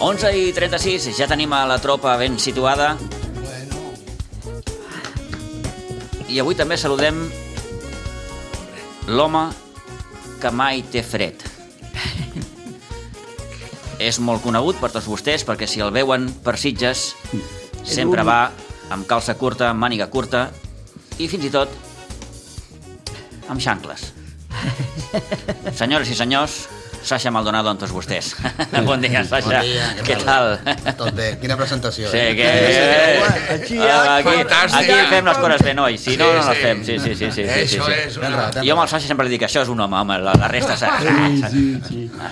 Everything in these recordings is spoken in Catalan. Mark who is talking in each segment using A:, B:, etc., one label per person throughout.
A: 11 i 36, ja tenim a la tropa ben situada. I avui també saludem l'home que mai té fred. És molt conegut per tots vostès, perquè si el veuen per Sitges, sempre va amb calça curta, màniga curta i fins i tot amb xancles. Senyores i senyors, Sasha Maldonado amb tots vostès. Bon dia, Sasha. Què tal?
B: Tot Doncs bé, quina presentació.
A: Sí,
B: eh?
A: que...
C: Aquí,
A: Ah, aquí,
D: fantàstic.
A: aquí fem les coses bé, noi. Si no, no les
D: sí.
A: fem. Sí, sí, sí. sí, sí, sí,
D: Això
A: sí.
D: és
B: Tens
D: una...
B: raó, tens
A: Jo amb
B: raó.
A: el Sasha sempre dic, això és un home, home, la, la resta saps.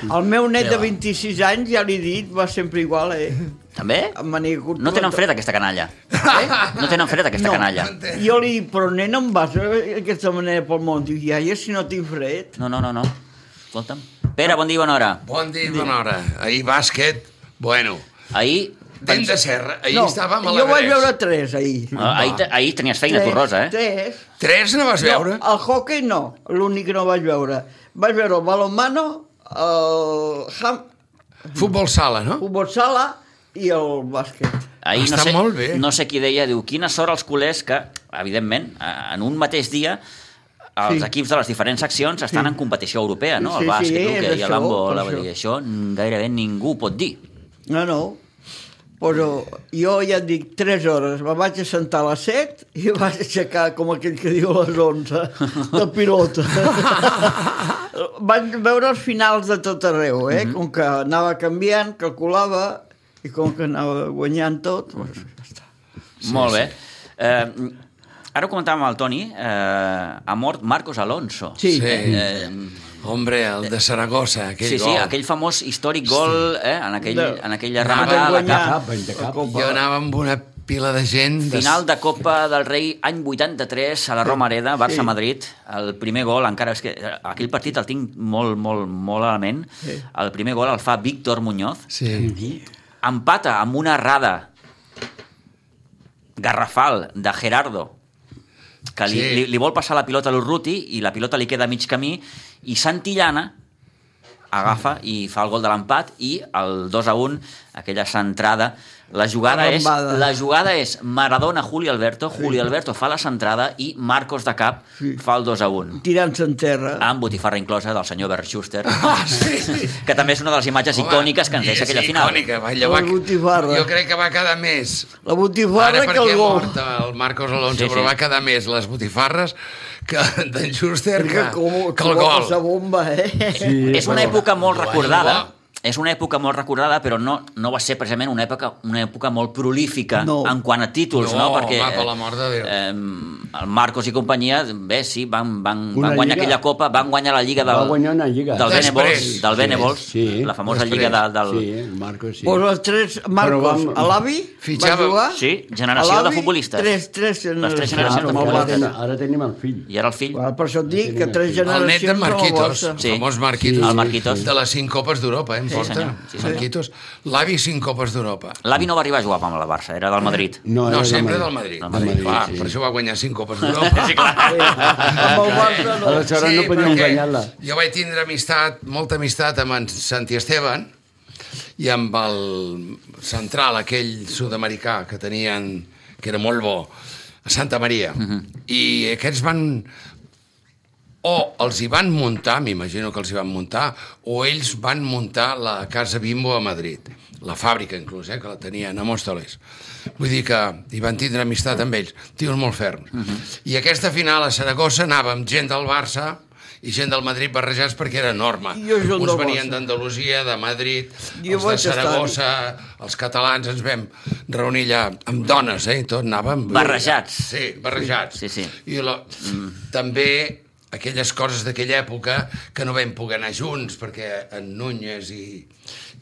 C: El meu net
B: Què
C: de
B: va?
C: 26 anys, ja l'he dit, va sempre igual, eh?
A: També?
C: Amb maniga curta.
A: No tenen fred, aquesta canalla. Eh? No tenen fred, aquesta
C: No.
A: canalla.
C: Jo li dic, però nen, em vas d'aquesta manera pel món. Diu, iaia, si no tinc fred.
A: No, no, no, no. Escolta'm. Pere, bon dia, i bona hora.
D: Bon dia, i bona hora. Ahir bàsquet, bueno,
A: Ahir...
D: dent de serra, ahir
C: no,
D: estàvem a
C: jo vaig
D: l'Everest.
C: veure tres ahir.
A: Ah, Ahir, te- ahir tenies feina, tu, Rosa, eh?
C: Tres.
D: Tres no vas veure?
C: No, el hockey no, l'únic que no vaig veure. Vaig veure el balonmano, el ham,
D: Futbol sala, no?
C: futbol sala i el bàsquet.
A: Ahir
D: Està
A: sé,
D: molt bé.
A: No sé qui deia, diu, quina sort als culers que, evidentment, a- en un mateix dia els
C: Sí.
A: sí. equips de les diferents seccions estan sí. en competició europea, no?
C: Sí,
A: el
C: sí,
A: bàsquet,
C: és
A: l'hoquei i
C: això,
A: l'handbol,
C: per
A: la-
C: això.
A: i això gairebé ningú ho pot dir.
C: No, no. Però jo ja et dic, 3 hores. Me vaig assentar a les 7 i em vaig aixecar, com aquell que diu, a les 11, de pilota. vaig veure els finals de tot arreu, eh? Mm -hmm. Com que anava canviant, calculava, i com que anava guanyant tot, doncs, ja està.
A: Sí, Molt bé. Eh, ara ho comentàvem amb el Toni, eh, ha mort Marcos Alonso.
C: Sí.
A: Eh,
D: Hombre, el de Saragossa, aquell
A: sí, sí,
D: gol.
A: aquell famós històric gol eh, en, aquell,
C: De-
A: en aquella
C: Anava
A: rematada, la
C: a guanyar.
A: capa,
D: Jo anava amb una pila de gent... De...
A: Final de Copa del Rei, any 83, a la Romareda, Barça-Madrid. El primer gol, encara és que eh, aquell partit el tinc molt, molt, molt a la ment. El primer gol el fa Víctor Muñoz.
D: Sí.
A: Empata amb una errada garrafal de Gerardo, que li,
D: Sí.
A: li, li vol passar la pilota a l'Urruti i la pilota li queda a mig camí i Santillana agafa i fa el gol de l'empat i el 2 a 1, aquella centrada la jugada, és,
C: Arrambada.
A: la jugada és Maradona, Juli Alberto Juli Alberto fa la centrada i Marcos de Cap
C: Sí.
A: fa el 2 a 1
C: Tirant-se en terra.
A: amb botifarra inclosa del senyor Bert Schuster
D: Ah, sí.
A: que també és una de les imatges icòniques que ens deixa aquella final
D: Icònica, va, allò va...
C: El botifarra.
D: Jo crec que va quedar més.
C: La
D: Ara
C: botifarra que
D: perquè
C: el
D: ha
C: gol.
D: mort el Marcos Alonso,
A: Sí, sí.
D: sí, sí. però va quedar més les botifarres que d'en Schuster que,
C: Que, com,
D: que el
C: va
D: gol.
C: passar bomba, eh?
A: és una època molt
D: Bueno,
A: recordada
D: va.
A: és una època molt recordada, però no, no va ser precisament una època, una època molt prolífica
C: No.
A: en quant a títols, no?
D: No,
A: Perquè
D: home, per la mort de Déu.
A: Eh, el Marcos i companyia, bé, sí, van, van,
E: Una
A: van guanyar
E: lliga.
A: aquella copa, van guanyar la lliga del,
E: Va guanyar una lliga.
A: del
D: Després.
A: Benevols, del Benevols
E: Sí.
A: la famosa
D: Després.
A: lliga de, del...
E: Sí, el Marcos sí.
C: Pues els tres, Marcos,
E: vam-
C: a l'avi, va
D: Fitxava-
C: jugar?
A: Sí, generació
C: A l'avi,
A: de futbolistes.
C: Tres, tres generacions.
A: tres
B: Ah,
E: Clar,
A: generacions de
C: amb el
E: ara,
A: futbolistes.
E: tenim,
C: Barça.
E: ara tenim el fill.
A: I ara el fill,
C: Ah, Per això et dic que tres
D: El net
C: generacions
D: de Marquitos,
C: amb el Barça.
D: el famós Marquitos.
A: Sí, el Marquitos.
D: De les cinc copes d'Europa, eh, em
A: Sí,
D: porta.
A: senyor, sí, senyor.
D: Marquitos, l'avi cinc copes d'Europa.
A: l'avi no va arribar a jugar amb la Barça, era del Madrid.
D: No,
E: era
D: sempre del Madrid.
A: Del
E: Madrid,
D: Va,
E: sí.
D: Per això va guanyar cinc copes d'Europa. sí, clar.
C: Amb el Barça no.
E: Aleshores no podíem
D: perquè
E: guanyar-la.
D: Jo vaig tindre amistat, molta amistat amb en Santi Esteban i amb el central aquell sud-americà que tenien, que era molt bo, a Santa Maria.
E: Mhm.
D: I aquests van o els hi van muntar, m'imagino que els hi van muntar, o ells van muntar la Casa Bimbo a Madrid, la fàbrica inclús, eh, que la tenien a Móstoles. Vull dir que hi van tindre amistat amb ells, tios molt ferms. Uh
C: Mhm.
D: -huh. I aquesta final a Saragossa anava amb gent del Barça i gent del Madrid barrejats perquè era enorme.
C: Jo soc
D: Uns
C: del
D: venien
C: Barça.
D: d'Andalusia, de Madrid,
C: Jo
D: els de
C: vaig estar-hi.
D: Saragossa, els catalans ens vam reunir allà amb dones, eh, i tot, anàvem...
A: Barrejats.
D: Sí, barrejats.
A: Sí, sí.
D: I la... mm. també aquelles coses d'aquella època que no vam poder anar junts perquè en Núñez i,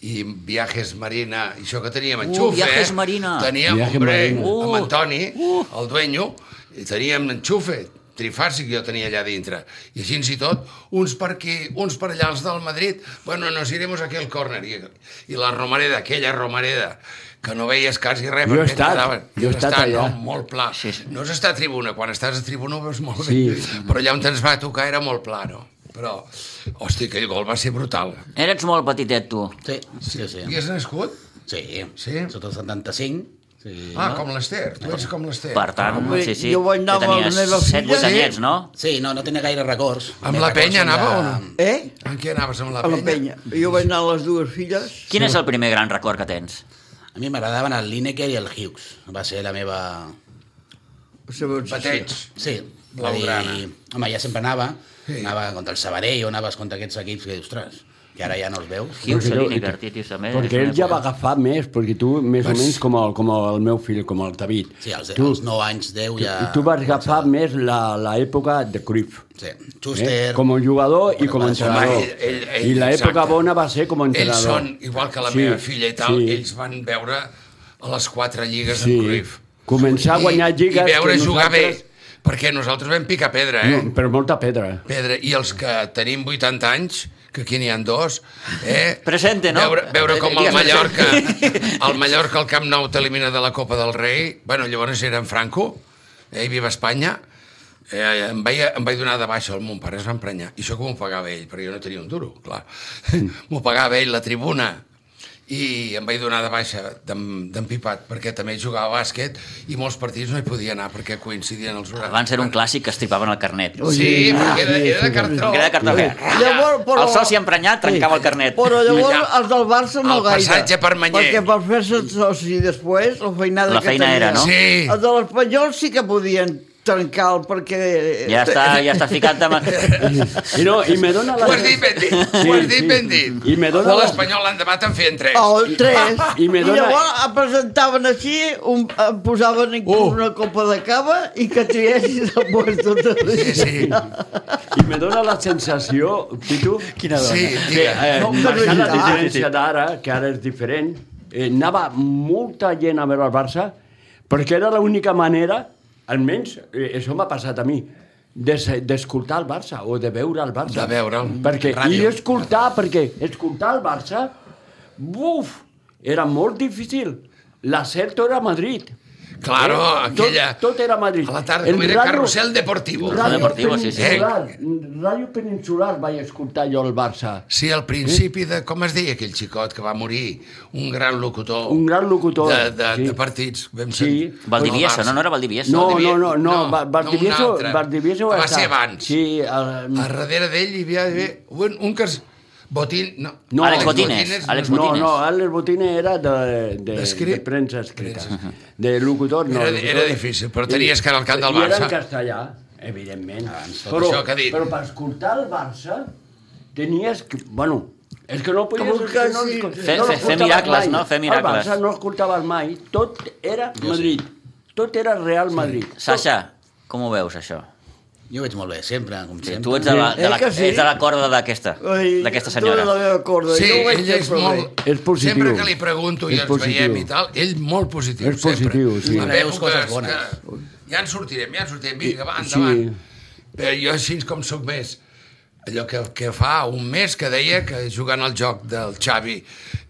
D: i Viajes Marina, i això que teníem en
A: Uh,
D: Xufe,
A: Viajes Marina.
D: teníem
E: Viaje
D: hombre, uh,
E: Marina.
A: Uh.
D: amb Antoni, uh. el duenyo, i teníem en Xufe, trifàsic que jo tenia allà dintre. I així i tot, uns per aquí, uns per allà, els del Madrid, bueno, nos iremos aquí al córner. I, i la Romareda, aquella Romareda, que no veies quasi res.
E: Jo he
D: perquè
E: estat,
D: quedaven-
E: jo he
D: has
E: estat allà.
D: No, molt pla.
A: Sí, sí.
D: No és estar a tribuna, quan estàs a tribuna ho veus molt
E: Sí.
D: bé. Però allà on ens va tocar era molt pla, no? Però, hosti, aquell gol va ser brutal.
A: Eres molt petitet, tu.
B: Sí, sí, sí.
D: Hi has nascut?
B: Sí,
D: Sí?
B: sota el 75. Sí.
D: Ah, com l'Ester, tu ets com l'Ester.
A: Per tant,
C: Home,
A: sí, sí.
C: jo vaig anar
A: que
C: amb la
A: tenies
C: meva
A: set,
C: filla.
A: vuit anyets, no?
B: Sí, no, no tenia gaire records.
D: Amb
B: Tenia
D: la penya
B: records
D: anava o
B: de-
D: no?
C: Eh?
D: En què anaves amb la
C: A
D: penya?
C: la penya. Jo vaig anar a les dues filles.
A: Quin és el primer gran record que tens?
B: A mi m'agradaven el Lineker i el Hughes. Va ser la meva...
C: La seva obsessió.
D: Bateig.
B: Sí. va
D: Blaugrana.
B: dir- Home, ja sempre anava.
D: Sí.
B: Anava contra el Sabadell o anaves contra aquests equips que, ostres, que ara ja no els veus.
A: Hughes,
E: Perquè jo-
A: Lineker, Titus, també. Eh, és
E: Perquè
A: una
E: ell ja va
A: època.
E: agafar més, perquè tu, més o menys, com el, com el meu fill, com el David.
B: Sí, als,
E: tu,
B: als 9 anys, 10 ja...
E: I tu vas agafar més la- l'època de Cruyff.
B: Sí.
E: Eh?
B: Schuster...
E: Com a jugador i com a entrenador.
D: Home, ell- ell- ell-
E: I l'època
D: exacte.
E: bona va ser com a
D: Ells
E: entrenador.
D: són, igual que la meva filla i tal,
E: sí,
D: ells van veure a les quatre lligues
E: sí.
D: en Cruyff.
E: Començar a guanyar lligues...
D: I veure
E: que
D: jugar bé,
E: nosaltres-
D: perquè nosaltres vam picar pedra, eh?
E: No, però molta pedra.
D: Pedra, i els que tenim 80 anys, que aquí n'hi ha dos, eh?
A: Presente, no?
D: Veure, veure com el
A: Digues,
D: Mallorca,
A: presente.
D: el Mallorca al Camp Nou t'elimina de la Copa del Rei, bueno, llavors era en Franco, eh, i viva Espanya, eh, em, vaig, em vaig donar de baixa el mon pare, es va emprenyar, i això que m'ho pagava ell, però jo no tenia un duro, clar.
A: Mm.
D: M'ho pagava ell, la tribuna, i em vaig donar de baixa d'en d'en Pipat, perquè també jugava a bàsquet i molts partits no hi podia anar perquè coincidien els horaris.
A: Abans era un clàssic que estripaven el carnet.
D: Sí, perquè era, era de cartró.
A: Era de cartó.
C: Llavors, però-
A: El soci emprenyat trencava el carnet.
C: Però llavors
D: Ja.
C: els del Barça no
D: El
C: gaire.
D: passatge per Manyer.
C: Perquè per fer-se soci després, la feinada
A: La
C: que
A: feina
C: tenia.
A: era, no?
D: Sí.
C: Els de l'Espanyol sí que podien trencar el perquè...
A: Ja està, ja està ficat de... ma-
E: I, no, i me dona la...
D: Ho has dit ben dit, ho has dit ben dit.
E: I me dona
D: O
E: la-
D: l'Espanyol l'endemà te'n feien tres.
A: Oh.
C: O el 3.
E: I me
C: Oh,
E: dona-
C: llavors em presentaven així, un, em posaven aquí
D: Oh.
E: Uh.
C: una copa de cava i que triessis després tot el
D: Sí, sí.
E: I me dóna la sensació, Pitu, quina dona,
D: Sí,
E: que
D: digue.
E: eh,
C: No,
E: no,
C: que no
E: marcant
C: és
E: la
C: veritat.
E: diferència d'ara, que ara és diferent, eh, anava molta gent a veure el Barça perquè era l'única manera, almenys eh, això m'ha passat a mi, de se- d'escoltar el Barça o de veure el Barça.
D: De veure'l.
E: Perquè, I
D: Ràdio.
E: escoltar, perquè escoltar el Barça, buf, era molt difícil. La certa era a Madrid.
D: Claro,
E: Eh? Tot-
D: aquella...
E: Tot, era Madrid.
D: A la tarda, com era
E: raro-
D: Carrusel Deportivo.
A: Raro.
E: Ràdio
A: Deportivo, sí, sí.
E: Peninsular, Ràdio Peninsular vaig escoltar jo el Barça.
D: Sí, al principi de... Com es deia aquell xicot que va morir? Un gran locutor.
E: Un gran locutor,
D: De, de,
E: sí.
D: de partits. Vam
E: Sí.
A: Valdiviesa, no? No era Valdiviesa?
E: No,
D: Valdivi-
E: no, no, no,
D: no,
E: no
D: no, un
E: Bardivieso...
D: altre.
E: Bardivieso
D: Va
E: estar-
D: ser abans.
E: Sí, el,
D: A darrere d'ell hi havia, hi havia un, un que es... Botín... No.
E: No, Àlex
A: Botines,
D: és-
A: Àlex
D: no,
E: no,
A: Botines.
E: no, Alex Botines era de, de,
D: D'escrit-
E: de premsa escrita, de locutor, no.
D: Era-
E: locutor.
D: era difícil, però tenies que anar al camp del
E: I era
D: Barça. Ah,
E: en castellà, evidentment.
D: tot això que ha dit.
E: però per escoltar el Barça tenies que... Bueno, és que no podies...
C: Com que
E: no,
C: sí.
E: no,
A: Fer-
E: no
A: fer- fer
E: escoltaves
A: miracles,
E: mai.
A: no? Fer miracles.
E: El Barça no escoltaves mai, tot era Madrid. Tot era Real Madrid.
A: Sasha, com ho veus, això?
B: Jo ho veig molt bé, sempre, com
A: Sí,
B: sempre.
A: tu ets de la, de la,
C: Eh que sí?
A: ets de la corda d'aquesta,
C: Ai,
A: d'aquesta
C: tota La
A: senyora.
C: meva corda.
D: Sí,
C: jo ho veig
D: ell és
C: sempre bé.
D: molt...
E: És positiu.
D: Sempre que li pregunto i
E: És
D: ens veiem
E: positiu.
D: i tal, ell molt positiu,
E: És positiu,
D: sempre.
E: sí.
D: En
B: Veus
D: èpoques
B: coses bones.
D: Que... Ja en sortirem, ja en sortirem, vinga, va, endavant. Sí. Però jo així com sóc més allò que, que fa un mes que deia que jugant al joc del Xavi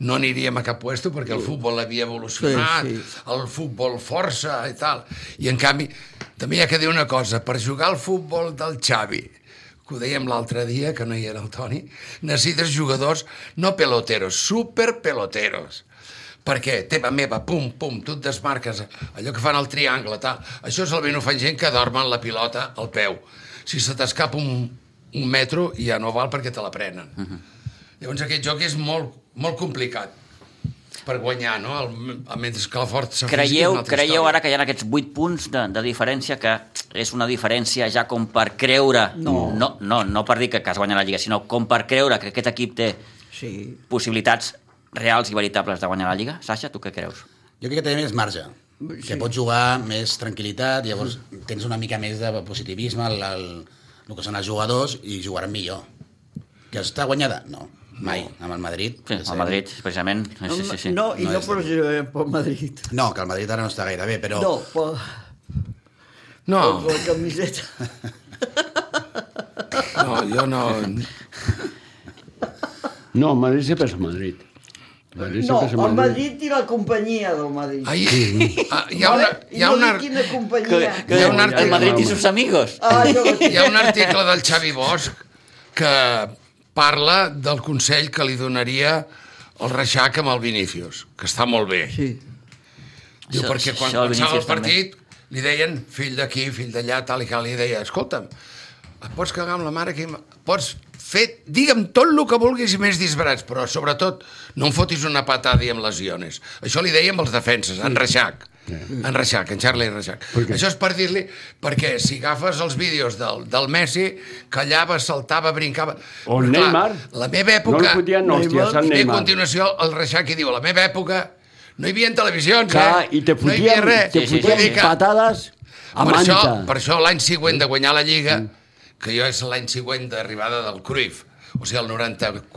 D: no aniríem a cap puesto perquè el futbol havia evolucionat,
C: Sí,
D: sí, sí. el futbol força i tal. I en canvi, també hi ha que dir una cosa, per jugar al futbol del Xavi, que ho dèiem l'altre dia, que no hi era el Toni, necessites jugadors no peloteros, superpeloteros. Perquè teva meva, pum, pum, tu et desmarques, allò que fan el triangle, tal. Això solament ho fan gent que dormen la pilota al peu. Si se t'escapa un, un metro, ja no val perquè te la prenen. Uh
A: Mhm.
D: -huh. Llavors aquest joc és molt, molt complicat per guanyar, no? El, el mentre que el fort s'afisca
A: Creieu, creieu ara que hi ha aquests 8 punts de, de diferència que és una diferència ja com per creure, no, no, no, no per dir que, que es guanya la Lliga, sinó com per creure que aquest equip té
C: Sí.
A: possibilitats reals i veritables de guanyar la Lliga? Sasha, tu què creus?
B: Jo crec que té més marge. Sí. Que pots jugar més tranquil·litat, llavors tens una mica més de positivisme el, el, el que són els jugadors i jugaran millor. Que està guanyada? No, mai. Amb el Madrid.
A: Sí,
B: que
A: el
B: sabem-
A: Madrid, precisament. Sí, sí, sí.
C: No, i
B: No
C: no,
B: és-
C: precisament per Madrid.
B: No, que el Madrid ara no està gaire bé,
E: Oh.
B: però...
C: No, per,
D: No,
C: per la camiseta.
D: no, jo no...
E: No, Madrid sempre és Madrid. Madrid
C: No,
E: sempre és
C: el Madrid i la companyia del Madrid.
D: Ai, ah, hi ha una... Hi ha
C: no
D: una...
C: dic quina companyia.
A: Que, que
D: Hi ha un
A: el
D: article-
A: Madrid i sus amigos.
C: Ah, jo,
D: Hi ha un article del Xavi Bosch que parla del consell que li donaria el Reixac amb el Vinícius, que està molt bé.
C: Sí.
D: Diu,
A: Això-
D: perquè quan
A: això al
D: començava el
A: Vinícius també.
D: partit li deien fill d'aquí, fill d'allà, tal i cal, i deia, escolta'm, et pots cagar amb la mare que... Pots fer, digue'm tot el que vulguis i més disbarats, però sobretot no em fotis una patada i amb lesiones. Això li dèiem els defenses, en Reixac. En Reixac, en Charlie Reixac.
E: què?
D: Això és per dir-li, perquè si agafes els vídeos del, del Messi, callava, saltava, brincava...
E: O el
D: Clar,
E: Neymar.
D: La meva època...
E: No li fotien hòsties al
D: I a
E: Neymar.
D: continuació el Reixac hi diu, a la meva època no hi havia televisions,
E: Clar,
D: eh?
E: i te
D: no hi havia
E: fotien,
D: res.
A: Sí,
E: te
A: sí,
E: fotien
A: sí.
E: patades a
D: per,
E: manta.
D: això, per això l'any següent de guanyar la Lliga, que jo és l'any següent d'arribada del Cruyff, o sigui, el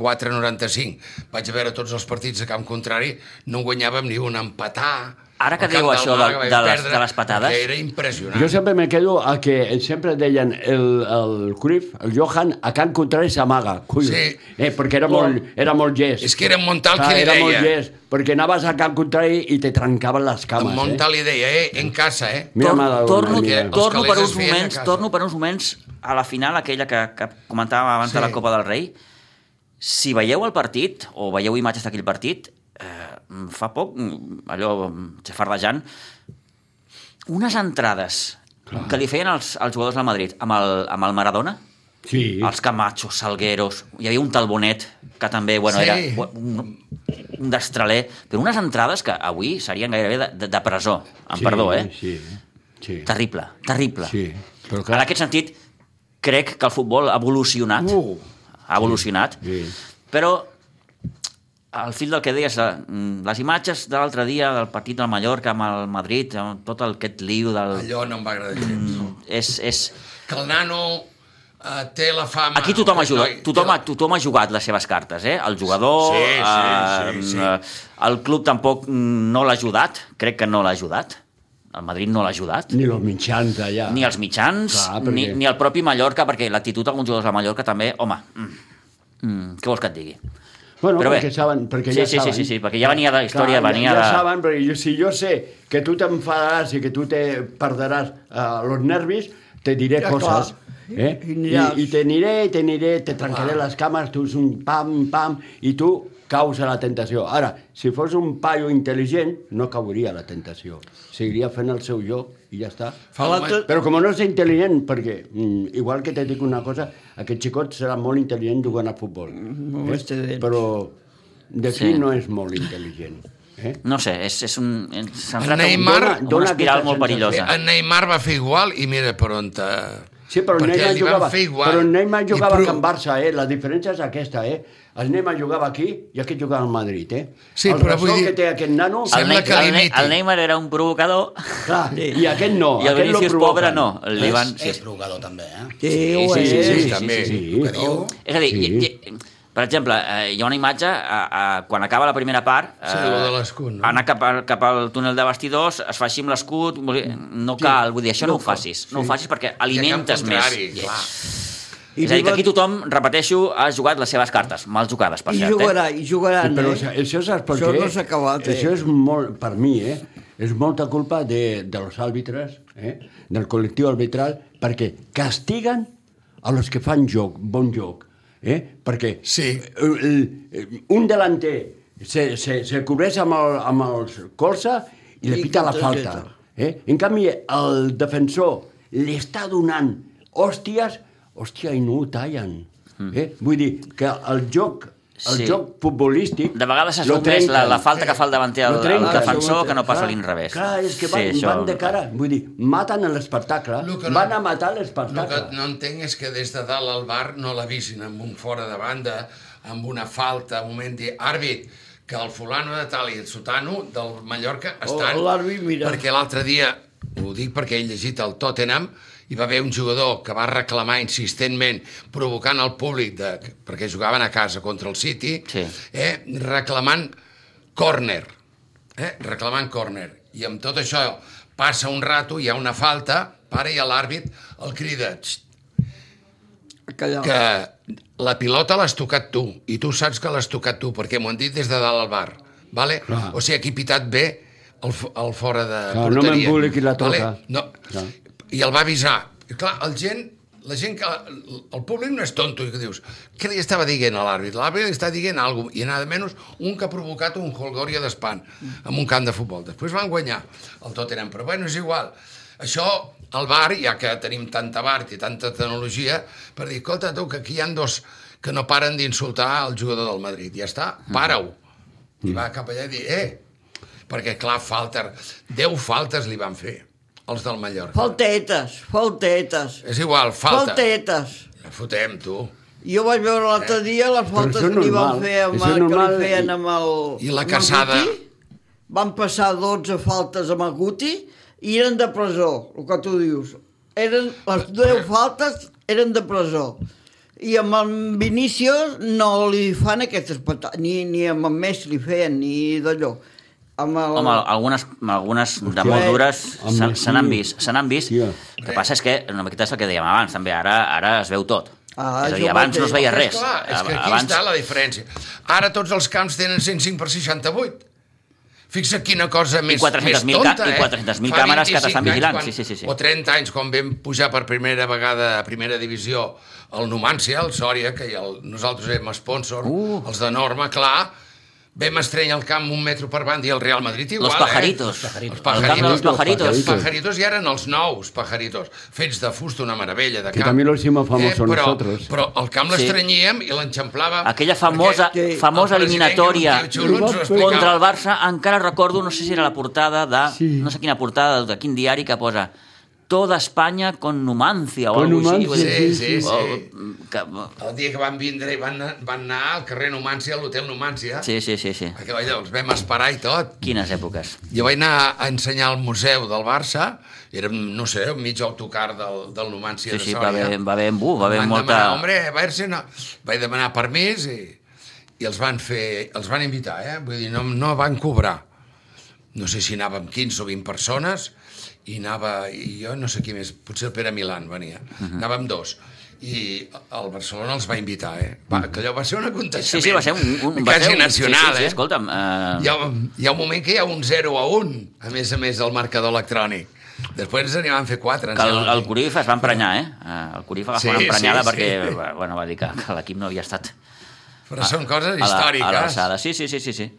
D: 94-95, vaig veure tots els partits a camp contrari, no en guanyàvem ni un empatar.
A: Ara que
D: Al camp
A: diu
D: del
A: això
D: Màlaga
A: de-
D: vaig
A: de les-
D: perdre,
A: de les patades.
D: que Era impressionant.
E: Jo sempre me quedo a que sempre deien el, el Cruyff, el Johan, a Can Contrari s'amaga, collons.
D: Sí.
E: Eh, perquè era molt, era molt llest.
D: És que era en Montal
E: Clar,
D: qui li
E: Ah, era molt
D: deia.
E: llest, perquè anaves a Can Contrari i te trencaven les
D: En
E: cames.
D: Montal li deia, eh,
E: Mm.
D: en casa, eh?
E: Mira, Madonna,
A: torno,
E: mira.
D: Els
A: torno,
D: calés
A: per
D: es
A: uns
D: feien a
A: moments,
D: casa.
A: torno per uns moments a la final aquella que, que comentàvem abans
D: Sí.
A: de la Copa del Rei. Si veieu el partit, o veieu imatges d'aquell partit, eh, fa poc, mm, allò mm, xafardejant, unes entrades Clar. que li feien els, els jugadors del Madrid amb el, amb el Maradona,
E: Eh? Sí.
A: els Camachos, Salgueros, hi havia un tal Bonet, que també, bueno,
D: Sí.
A: era un, un destraler, però unes entrades que avui serien gairebé de, de, de presó, amb
E: sí,
A: sí, perdó, eh?
E: Sí, sí.
A: Terrible, terrible.
E: sí. Però
A: En aquest sentit, crec que el futbol ha evolucionat.
E: Uh.
A: ha evolucionat.
E: Sí.
A: Però al fil del que deies, eh, mm, les imatges de l'altre dia del partit del Mallorca amb el Madrid, amb tot el, aquest lío del... mm,
D: Allò no em va agradar gens.
A: És, és...
D: que el nano eh, té la fama...
A: Aquí tothom ha,
D: Aquest
A: jugat,
D: noi
A: tothom,
D: té
A: ha, tothom ha jugat les seves cartes, eh? El jugador,
D: Sí, sí, sí, sí.
A: eh, eh, el club tampoc mm, no l'ha ajudat, crec que no l'ha ajudat, el Madrid no l'ha ajudat.
E: Ni els mitjans d'allà.
A: ni els mitjans,
E: Clar,
A: Clar,
E: perquè-
A: ni, ni el propi Mallorca, perquè l'actitud d'alguns jugadors de Mallorca també, home, mm, mm, què vols que et digui?
E: Bueno,
A: Però
E: però
A: bé.
E: perquè saben, perquè
A: Sí,
E: ja
A: sí, sí,
E: saben.
A: sí, sí, perquè ja venia de història,
E: Clar,
A: venia
E: ja, ja
A: de-
E: saben, perquè jo, si jo sé que tu t'enfadaràs i que tu te perdràs eh, los nervis, te diré
C: Ja,
E: ja, coses.
C: clar.
E: Eh?
C: I- i
E: I,
C: aniràs.
E: I t'aniré, i t'aniré, te trencaré les cames, tu és un pam, pam, i tu caus a la tentació. Ara, si fos un paio intel·ligent, no cauria a la tentació. Seguiria fent el seu joc i ja està.
D: Fa un
C: L'altre-
D: moment-
E: Però com no és intel·ligent, perquè mm, igual que te dic una cosa, aquest xicot serà molt intel·ligent jugant a futbol. Eh?
C: Molt intel·ligent.
E: Però d'aquí
A: Sí.
E: sí. no és molt intel·ligent. Eh?
A: No sé, és, és un... ens ha
D: El
A: entrat un-
D: Neymar-
A: dona- dona una espiral
E: aquesta
A: molt
E: sensació.
A: perillosa.
D: En Neymar va fer igual i mira per on te...
E: Sí, però el
D: Perquè
E: Neymar
D: li van
E: jugava,
D: fer igual.
E: però el Neymar
D: I
E: jugava
D: prou.
E: a Can Barça, eh? La diferència és aquesta, eh? El Neymar jugava aquí i aquest jugava al Madrid, eh?
D: Sí,
E: el
D: però vull
E: ressò
D: dir-
E: que té aquest nano...
A: el,
D: sembla
A: Ney-
D: que
A: el, Ney-
D: l'imiti.
A: el Neymar era un provocador
E: Clar, i aquest no.
A: i el
E: aquest lo
A: Vinícius
E: provoquen.
A: pobre no. Li
B: És,
A: van...
B: és, és provocador, també, eh?
C: Sí,
A: Sí,
C: ho
A: sí, sí,
C: és.
A: sí, sí,
D: també.
A: sí, sí.
B: El que diu...
A: És a dir,
E: Sí.
A: sí. i, i, per exemple, eh, hi ha una imatge, a, a, quan acaba la primera part, eh,
D: Sí, lo de l'escut, no?
A: anar cap, al, cap al túnel de vestidors, es fa així amb l'escut, vull dir, no cal, vull dir, això no, ho facis, no ho facis perquè alimentes més.
D: Clar.
A: I és a dir,
C: viva-
A: que aquí tothom, repeteixo, ha jugat les seves cartes, mal jugades, per
C: I
A: cert. eh?
C: jugarà, i jugaran,
E: eh? Sí, però
C: eh?
E: això, això saps per
C: Això
E: què?
C: no s'ha acabat, eh?
E: Això és molt, per mi, eh? És molta culpa de, de los àrbitres, eh? del col·lectiu arbitral, perquè castiguen a los que fan joc, bon joc. Eh? Perquè eh,
D: Sí.
E: el, el, un delanter se, se, se cobreix amb, el, amb els colze i li
C: I
E: pita la
C: targeta.
E: falta. Eh? En canvi, el defensor li està donant hòsties, hòstia, i no ho tallen. Eh? Vull dir que el joc, el
A: Mm. Sí.
E: joc futbolístic...
A: De vegades es
E: lo
A: veu més la,
E: trenquen.
A: la falta que fa el davanter al,
E: Lo trenquen.
A: al defensor que no passa
E: Clar,
A: a l'inrevés.
E: Clar, és que van,
A: això-
E: van de cara, vull dir, maten l'espectacle,
D: Lo que
E: no,
D: no-
E: van a matar
D: El que
E: l'espectacle.
D: no entenc és que des de dalt al bar no l'avisin amb un fora de banda, amb una falta, un moment dir, àrbit, que el fulano de tal i el sotano del Mallorca estan...
C: Oh, l'àrbit mira.
D: Perquè l'altre dia, ho dic perquè he llegit el Tottenham, hi va haver un jugador que va reclamar insistentment, provocant el públic, de, perquè jugaven a casa contra el City,
A: Sí.
D: eh, reclamant córner. Eh, reclamant córner. I amb tot això passa un rato, hi ha una falta, para i a l'àrbit el crida, "Xt,
C: Callar.
D: que la pilota l'has tocat tu i tu saps que l'has tocat tu perquè m'ho han dit des de dalt al bar vale?
E: Clar.
D: o sigui, aquí pitat bé el, fo- el fora de
E: Clar, no
D: porteria
E: m'emboliqui la tota.
D: No.
E: Clar.
D: i el va avisar I clar, el gent la gent que... El públic no és tonto, i que dius, què li estava dient a l'àrbitre? L'àrbitre li està dient alguna cosa, i nada menys un que ha provocat un holgorio d'espant en un camp de futbol. Després van guanyar el Tottenham, però bueno, és igual. Això, al bar, ja que tenim tanta bar i tanta tecnologia, per dir, escolta, tu, que aquí hi han dos que no paren d'insultar el jugador del Madrid. Ja està, para-ho. I va cap allà i dir, eh, perquè clar, falta, 10 faltes li van fer, els del Mallorca.
C: Faltetes, faltetes.
D: És igual, falta.
C: Faltetes.
D: La fotem, tu.
C: Jo vaig veure l'altre dia les faltes
E: això és
C: que li van
E: normal,
C: fer amb,
E: això és
C: el- que
E: normal.
C: li feien amb el...
D: I la
C: amb el
D: caçada.
C: Guti. Van passar 12 faltes amb el Guti i eren de presó, el que tu dius. Eren, les 10 faltes eren de presó. I amb el Vinícius no li fan aquestes patades, ni, ni amb el Messi li feien, ni d'allò. Amb el...
A: Home, algunes, algunes de molt
C: eh,
A: dures se
E: home,
A: se n'han
E: sí.
A: vist. Se n'han vist.
E: Hòstia.
A: El que passa és que una miqueta és el que dèiem abans, també. Ara, ara es veu tot.
C: Ah,
A: és a
C: jo
A: dir, abans no es veia
C: mateix.
A: res.
D: És clar, és que aquí
A: abans,
D: està la diferència. Ara tots els camps tenen 105 per 68. Fixa't quina cosa més,
A: 400.000
D: més tonta,
A: ca- i
D: eh?
A: 400.000
D: Fa
A: càmeres que
D: 25
A: t'estan
D: anys
A: vigilant,
D: quan-
A: sí, sí, sí, sí.
D: O 30 anys, quan vam pujar per primera vegada a primera divisió el Numancia, el Sòria, que el, nosaltres érem sponsor, uh. els de Norma, clar, vam estreny el camp un metro per banda i el Real Madrid igual,
A: Los pajaritos.
D: Eh? Els
A: El camp de los pajaritos.
D: Els pajaritos ja eren els nous pajaritos, fets de fusta, una meravella de camp. Eh,
E: Que también los hicimos famosos
D: però,
E: nosotros.
D: Però el camp
A: Sí.
D: l'estrenyíem i l'enxamplàvem.
A: Aquella famosa,
C: Perquè- que-
A: famosa eliminatòria contra
D: contra
A: el Barça, encara recordo, no sé si era la portada de...
E: Sí.
A: No sé quina portada, de quin diari que posa Toda España con Numancia o
E: Con
A: alguna cosa així.
E: Numancia,
A: vull dir,
D: sí, sí, sí.
A: o- que-
D: El dia que van vindre i van, anar- van anar al carrer Numància, a l'hotel Numància,
A: Sí, sí, sí, sí.
D: perquè vaja, els vam esperar i tot.
A: Quines èpoques.
D: Jo vaig anar a ensenyar al museu del Barça, érem, no sé, un mig autocar del, del Numància
A: Sí,
D: de
A: sí, va
D: Sòria.
A: haver, va haver embú, va haver
D: Van
A: molta...
D: demanar, hombre, a veure si no... Vaig demanar permís i, i els van fer... Els van invitar, eh? Vull dir, no, no van cobrar. No sé si anàvem 15 o 20 persones i anava... I jo no sé qui més, potser el Pere Milan venia. Uh
A: Mhm.
D: -huh. Anàvem dos. I el Barcelona els va invitar, eh? Va, que allò va ser un
A: Sí,
D: aconteixement.
A: sí, va ser un... un va
D: quasi
A: ser un,
D: nacional,
A: sí, sí, sí,
D: eh?
A: escolta'm, eh,
D: Hi ha, hi ha un moment que hi ha un 0 a 1, a més a més, del marcador electrònic. Després ens n'hi van fer 4.
A: que el, el Corifa es va emprenyar, eh? Eh, El Corifa va fer
D: Sí,
A: una emprenyada
D: sí,
A: perquè
D: sí.
A: va- bueno, va dir que, que l'equip no havia estat
D: Però són coses
A: a la- a
D: històriques.
A: l'alçada. Sí, sí, sí, sí, sí.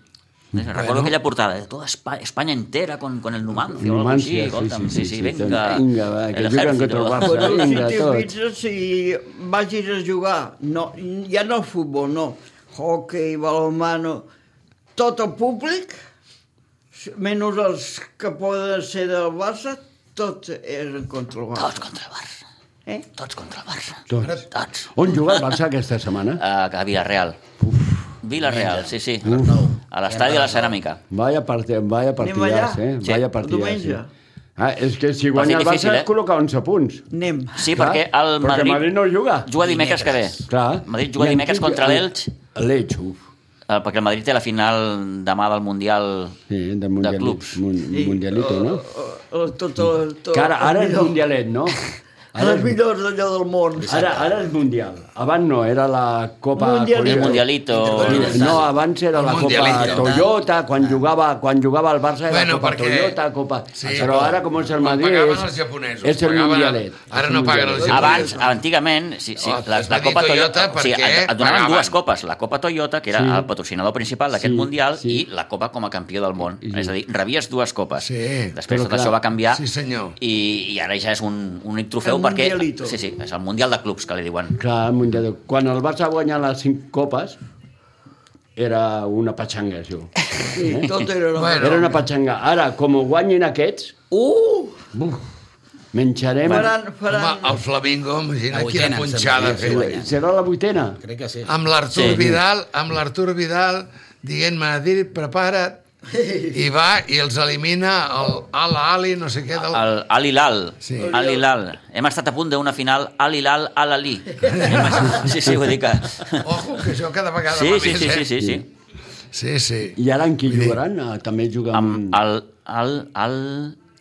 A: Recordo aquella portada, de toda Espa- España entera con, con el Numancia, o algo
E: Numancia,
A: así,
E: sí,
A: escolta'm,
E: sí,
A: sí, sí,
E: sí, sí,
A: venga,
E: venga, va, que juegan contra el Barça.
C: Però si
E: Vinga, tots.
C: t'invites, si vagis a jugar, no, ja no futbol, no, hockey, balonmano, tot el públic, menys els que poden ser del Barça, tots eren contra el
A: Tots
C: Barça.
A: contra el Barça,
C: Eh?
A: tots contra el Barça,
E: Tots.
A: tots.
E: Doncs, On juga el Barça aquesta setmana?
A: A, a Villarreal. Villarreal, sí, sí. A l'estadi de la Ceràmica.
E: Vaya, parte, vaya partidàs,
C: allà?
E: eh?
A: Sí.
E: Vaya partidàs, sí.
C: Diumenge.
E: Ah, és que
A: Va
E: si
A: ser
E: guanya el
A: difícil,
E: Barça
A: eh?
E: es col·loca 11 punts.
C: Anem.
A: Sí,
E: Clar,
A: perquè el
E: perquè
A: Madrid,
E: Madrid no juga.
A: Juga dimecres que ve.
E: Clar.
A: Madrid juga
E: I en
A: dimecres
E: qui-
A: contra l'Elx,
E: L'Elx, uf.
A: eh, perquè el Madrid té la final demà del Mundial
E: Sí, de,
A: de clubs.
E: Mun, mundialito, no?
C: Uh, tot, el- tot,
E: Que ara, ara és
C: el millor-
E: mundialet, no? Ara,
C: Els millors d'allò del món.
E: ara, ara és mundial. Abans no, era la Copa...
C: Mundialito.
A: El
E: Corea.
A: Mundialito...
E: No, abans era
D: El
E: la Copa
D: Mundialito.
E: Toyota, quan jugava, quan jugava el Barça era
D: Bueno,
E: Copa
D: perquè-
E: Toyota, Copa...
D: Sí,
E: però ara, com és
D: quan
E: el Madrid...
D: pagaven
E: és-
D: els japonesos,
E: És el
D: pagaven-
E: Mundialet.
D: ara
E: És
D: no
E: el
D: paguen
E: Mundialet.
D: els
A: Abans,
D: japonesos.
A: antigament, sí, sí,
D: Oh,
A: la,
D: es va
A: la
D: dir
A: Copa
D: Toyota
A: Toyota, o sigui,
D: perquè
A: et, et donaven
D: pagaven.
A: dues copes, la Copa Toyota, que era
E: Sí.
A: sí. el patrocinador principal d'aquest
E: Sí,
A: Mundial,
E: sí.
A: i la Copa com a campió del món.
E: I-
A: És a dir, rebies dues copes.
D: Sí.
A: Després
E: Però
A: tot
E: clar.
A: això va canviar
D: Sí, senyor.
A: i, i ara ja és un, un únic trofeu
C: El
A: perquè...
C: Mundialito.
A: Sí, sí, és el Mundial de Clubs, que li diuen.
E: Clar, el Mundial. Quan el Barça guanyar les cinc copes, era una patxanga, això.
C: Sí, tot era...
D: Bueno.
E: Era una patxanga. Ara, com ho guanyin aquests,
C: Uh!
E: menjarem...
C: Faran, faran...
D: Home, el Flamingo, imagina
B: La
D: quina
B: vuitena, em
D: punxada
B: sembla, sí,
D: feia.
B: guanyant.
E: Serà la vuitena?
B: Crec que
A: Ah.
B: sí.
D: Amb l'Artur
A: Sí.
D: Vidal, amb l'Artur Vidal, dient Madrid, prepara't, i va i els elimina el Al-Ali, no sé què, del...
A: El Al Hilal.
D: Sí.
A: Sí. Al Hilal. Hem estat a punt d'una final Al Hilal Al Ali. Sí, sí, vull dir que...
D: Ojo, que això cada vegada
A: Sí,
D: va
A: sí,
D: més,
A: sí,
D: eh?
A: sí, sí, sí.
D: Sí, sí.
E: I ara en qui jugaran? Ah, també juga amb...
A: Amb el... el, el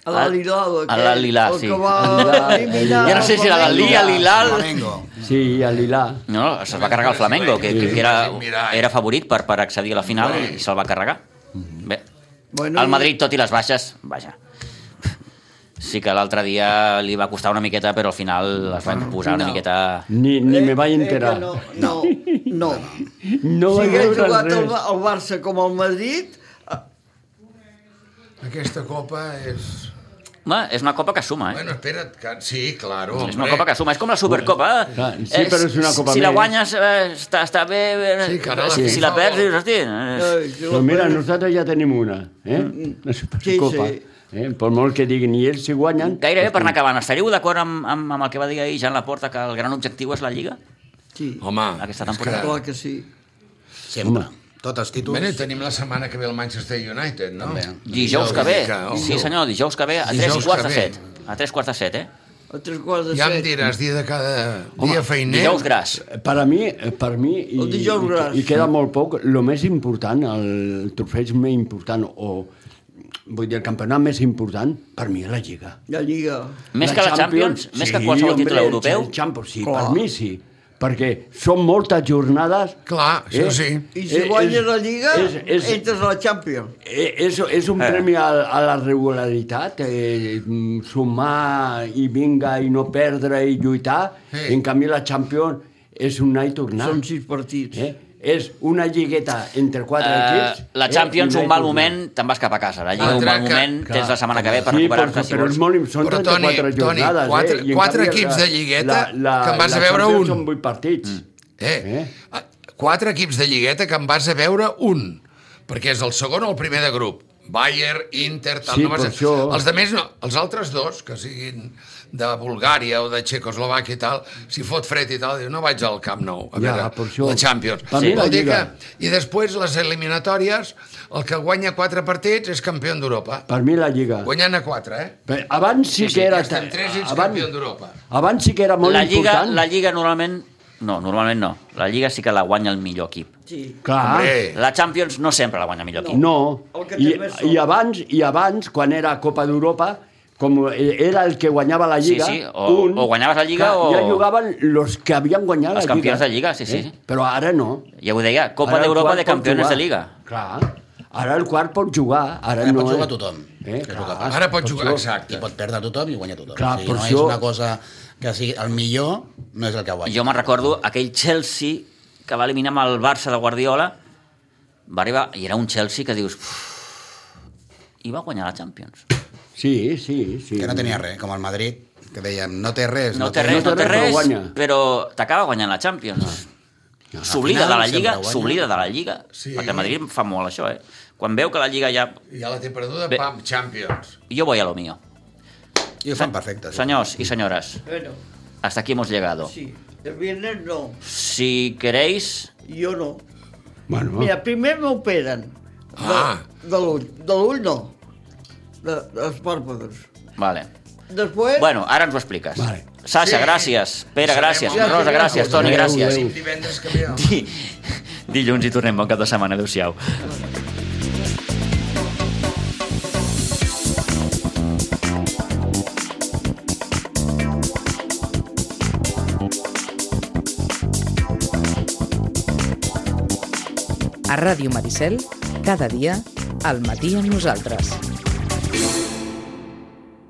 C: A l'Alilal,
A: A l'Alilal, sí.
C: El que va
E: Alilal,
C: eliminar...
A: Ja no sé si era l'Alí,
C: Flamengo.
A: l'Ilal...
B: Flamengo.
E: Sí, a l'Ilà.
A: No, se'l va carregar el Flamengo, que, que era, era favorit per, per accedir a la final i se'l va carregar. Bé,
C: Bueno,
A: el Madrid, tot i les baixes, vaja, sí que l'altre dia li va costar una miqueta, però al final es van posar una
C: No.
A: miqueta...
E: Ni, ni me vaig enterar.
C: Eh, no, no, no.
E: No
C: si
E: vaig
C: hagués
E: veure
C: jugat el,
E: res.
C: Ba- el Barça com el Madrid,
D: Aquesta copa és...
A: Home, és una copa que suma, eh?
D: Bueno, espera't, que... sí, claro,
A: És una copa que suma, és com la Supercopa.
E: Clar, sí,
A: Eh,
E: però és una
A: si-
E: copa
A: si la
E: més.
A: guanyes eh, està, està bé, eh,
D: Sí, que ara la
A: si, si la
D: FIFA
A: perds
D: vol.
A: dius, hosti... eh,
C: eh,
E: Però mira, nosaltres ja tenim una, eh? La
C: Mm,
E: Supercopa.
C: sí.
E: Eh? Per molt que diguin, i ells si guanyen...
A: Gairebé per anar acabant, estaríeu d'acord amb, amb, amb el que va dir ahir Jan Laporta, que el gran objectiu és la Lliga?
C: sí,
D: Home,
A: Aquesta
D: és
A: temporada.
C: clar que sí.
B: Sempre. Tots els títols.
D: Bueno, i tenim la setmana que ve el Manchester United, no?
B: També.
A: Dijous que ve,
D: que, ojo.
A: sí senyor, dijous que ve, a
D: Dijous
A: tres
D: que
A: quarts de
D: ve.
A: set. A tres quarts de set, eh?
C: A tres quarts de
D: Ja em
C: set.
D: diràs, dia de cada dia feiner...
A: Dijous gras.
E: Per a mi, per a mi i,
C: El dijous gras.
E: i, i queda molt poc, el més important, el trofeig més important, o vull dir, el campionat més important, per mi és la Lliga.
C: La Lliga.
A: Més que la Champions, més que qualsevol títol
E: hombre,
A: europeu.
E: El Champions, sí,
C: Clar.
E: per mi sí, perquè són moltes jornades...
D: Clar, això sí.
C: I si
E: Eh,
C: guanyes
E: és-
C: la Lliga,
E: és- és-
C: entres a la Champions.
E: Eh, És, és un premi a, a la regularitat, eh, mm, sumar i vinga i no perdre i lluitar.
D: Sí.
E: En canvi, la Champions és un anar i tornar.
C: Són sis partits.
E: Eh? És una lligueta entre quatre
A: Eh,
E: equips.
A: la
E: eh,
A: Champions,
E: i anar
A: un
E: i
A: mal
E: tornar.
A: moment, te'n vas cap a casa. La Lliga, un
D: Clar,
A: mal
D: clar,
A: moment, tens la setmana que ve per
E: sí,
A: recuperar-te,
E: però,
A: si
E: però
A: vols.
E: és molt, són
D: Però,
E: 34
D: Toni, Toni,
E: jornades.
D: quatre-
E: eh? I en
D: quatre
E: canvi
D: equips de lligueta que en vas a
E: la
D: veure
E: Champions
D: un.
E: Són 8 partits.
A: Mm.
D: Eh?
E: Eh?
D: Ah, Quatre equips de lligueta que en vas a veure un, perquè és el segon o el primer de grup. Bayern, Inter, tal,
E: Sí,
D: no vas a...
E: per això.
D: Els de més no, els altres dos, que siguin de Bulgària o de Txecoslovàquia i tal, si fot fred i tal, diu, no vaig al Camp Nou, a
E: Ja,
D: veure,
E: per això.
D: la Champions.
E: Per mi la
D: Vol dir
E: Lliga.
D: I després, les eliminatòries, el que guanya quatre partits és campió d'Europa.
E: Per mi la Lliga.
D: Guanyant a quatre, eh?
E: Bé, Abans sí,
D: Sí,
E: que era...
D: ja estem tres i ets campió d'Europa.
E: Abans sí que era molt
A: La Lliga,
E: important.
A: la Lliga normalment... No, normalment no. La Lliga sí que la guanya el millor equip.
C: Sí.
E: Clar.
D: Hombre.
A: La Champions no sempre la guanya el millor equip.
E: No,
C: El que té
E: I,
C: més sort.
E: i, abans, i abans, quan era Copa d'Europa, com eh, era el que guanyava la Lliga...
A: Sí, sí, o- o guanyaves la Lliga o-
E: Ja jugaven los que havien
A: Els
E: guanyat la Lliga. eh?
A: campions de Lliga, sí, sí.
E: Però ara no.
A: Ja ho deia, Copa
E: Ara el
A: d'Europa
E: quart
A: de
E: pot
A: Campeones
E: jugar.
A: de Liga.
E: Clar. Ara el quart pot jugar. Ara,
B: Ara
E: no,
B: pot jugar
E: eh?
B: tothom, que és
E: Eh?
B: el que
E: Clar,
B: passa.
D: Ara pots
E: per
D: jugar,
E: això.
D: exacte.
B: I pot perdre tothom i guanyar tothom.
E: Clar,
B: o sigui,
E: per
B: no
E: això-
B: és una cosa que sigui el millor, no és el que guanya.
A: Jo me'n recordo aquell Chelsea que va eliminar amb el Barça de Guardiola, va arribar, i era un Chelsea que dius... "Uf", I va guanyar la Champions.
E: Sí, sí, sí.
B: Que no tenia res, com el Madrid, que dèiem, no té res.
A: No té res,
E: no
A: no
E: té
A: té
E: res, però
A: res,
E: guanya.
A: però t'acaba guanyant la Champions. S'oblida
B: Al
A: de la
B: final
A: Lliga,
B: sempre guanya.
A: s'oblida de la Lliga.
D: Sí.
A: Perquè el Madrid fa molt això, eh? Quan veu que la Lliga ja...
D: Ja la té perduda,
A: Bé.
D: pam, Champions.
A: Jo voy a lo mío.
B: I ho fan perfecte. sí.
A: Senyors i senyores,
C: Bueno,
A: hasta aquí hemos llegado.
C: sí. El viernes no.
A: Si queréis,
C: Jo no.
E: Bueno,
C: Mira, primer m'operen. De,
D: Ah.
C: de l'ull. De l'ull no. De, dels pàrpados.
A: vale.
C: Després...
A: Bueno, ara ens ho expliques.
E: Vale.
A: Sasha,
D: Eh. Sí.
A: gràcies. Pere,
D: Sabem
A: gràcies.
D: on anem.
A: Rosa, gràcies. Toni,
E: Adéu,
A: gràcies.
E: adéu.
D: Divendres que ve.
A: Di... Dilluns hi tornem. Bon cap de setmana. Adéu-siau.
F: A Ràdio Maricel, cada dia, al matí amb nosaltres.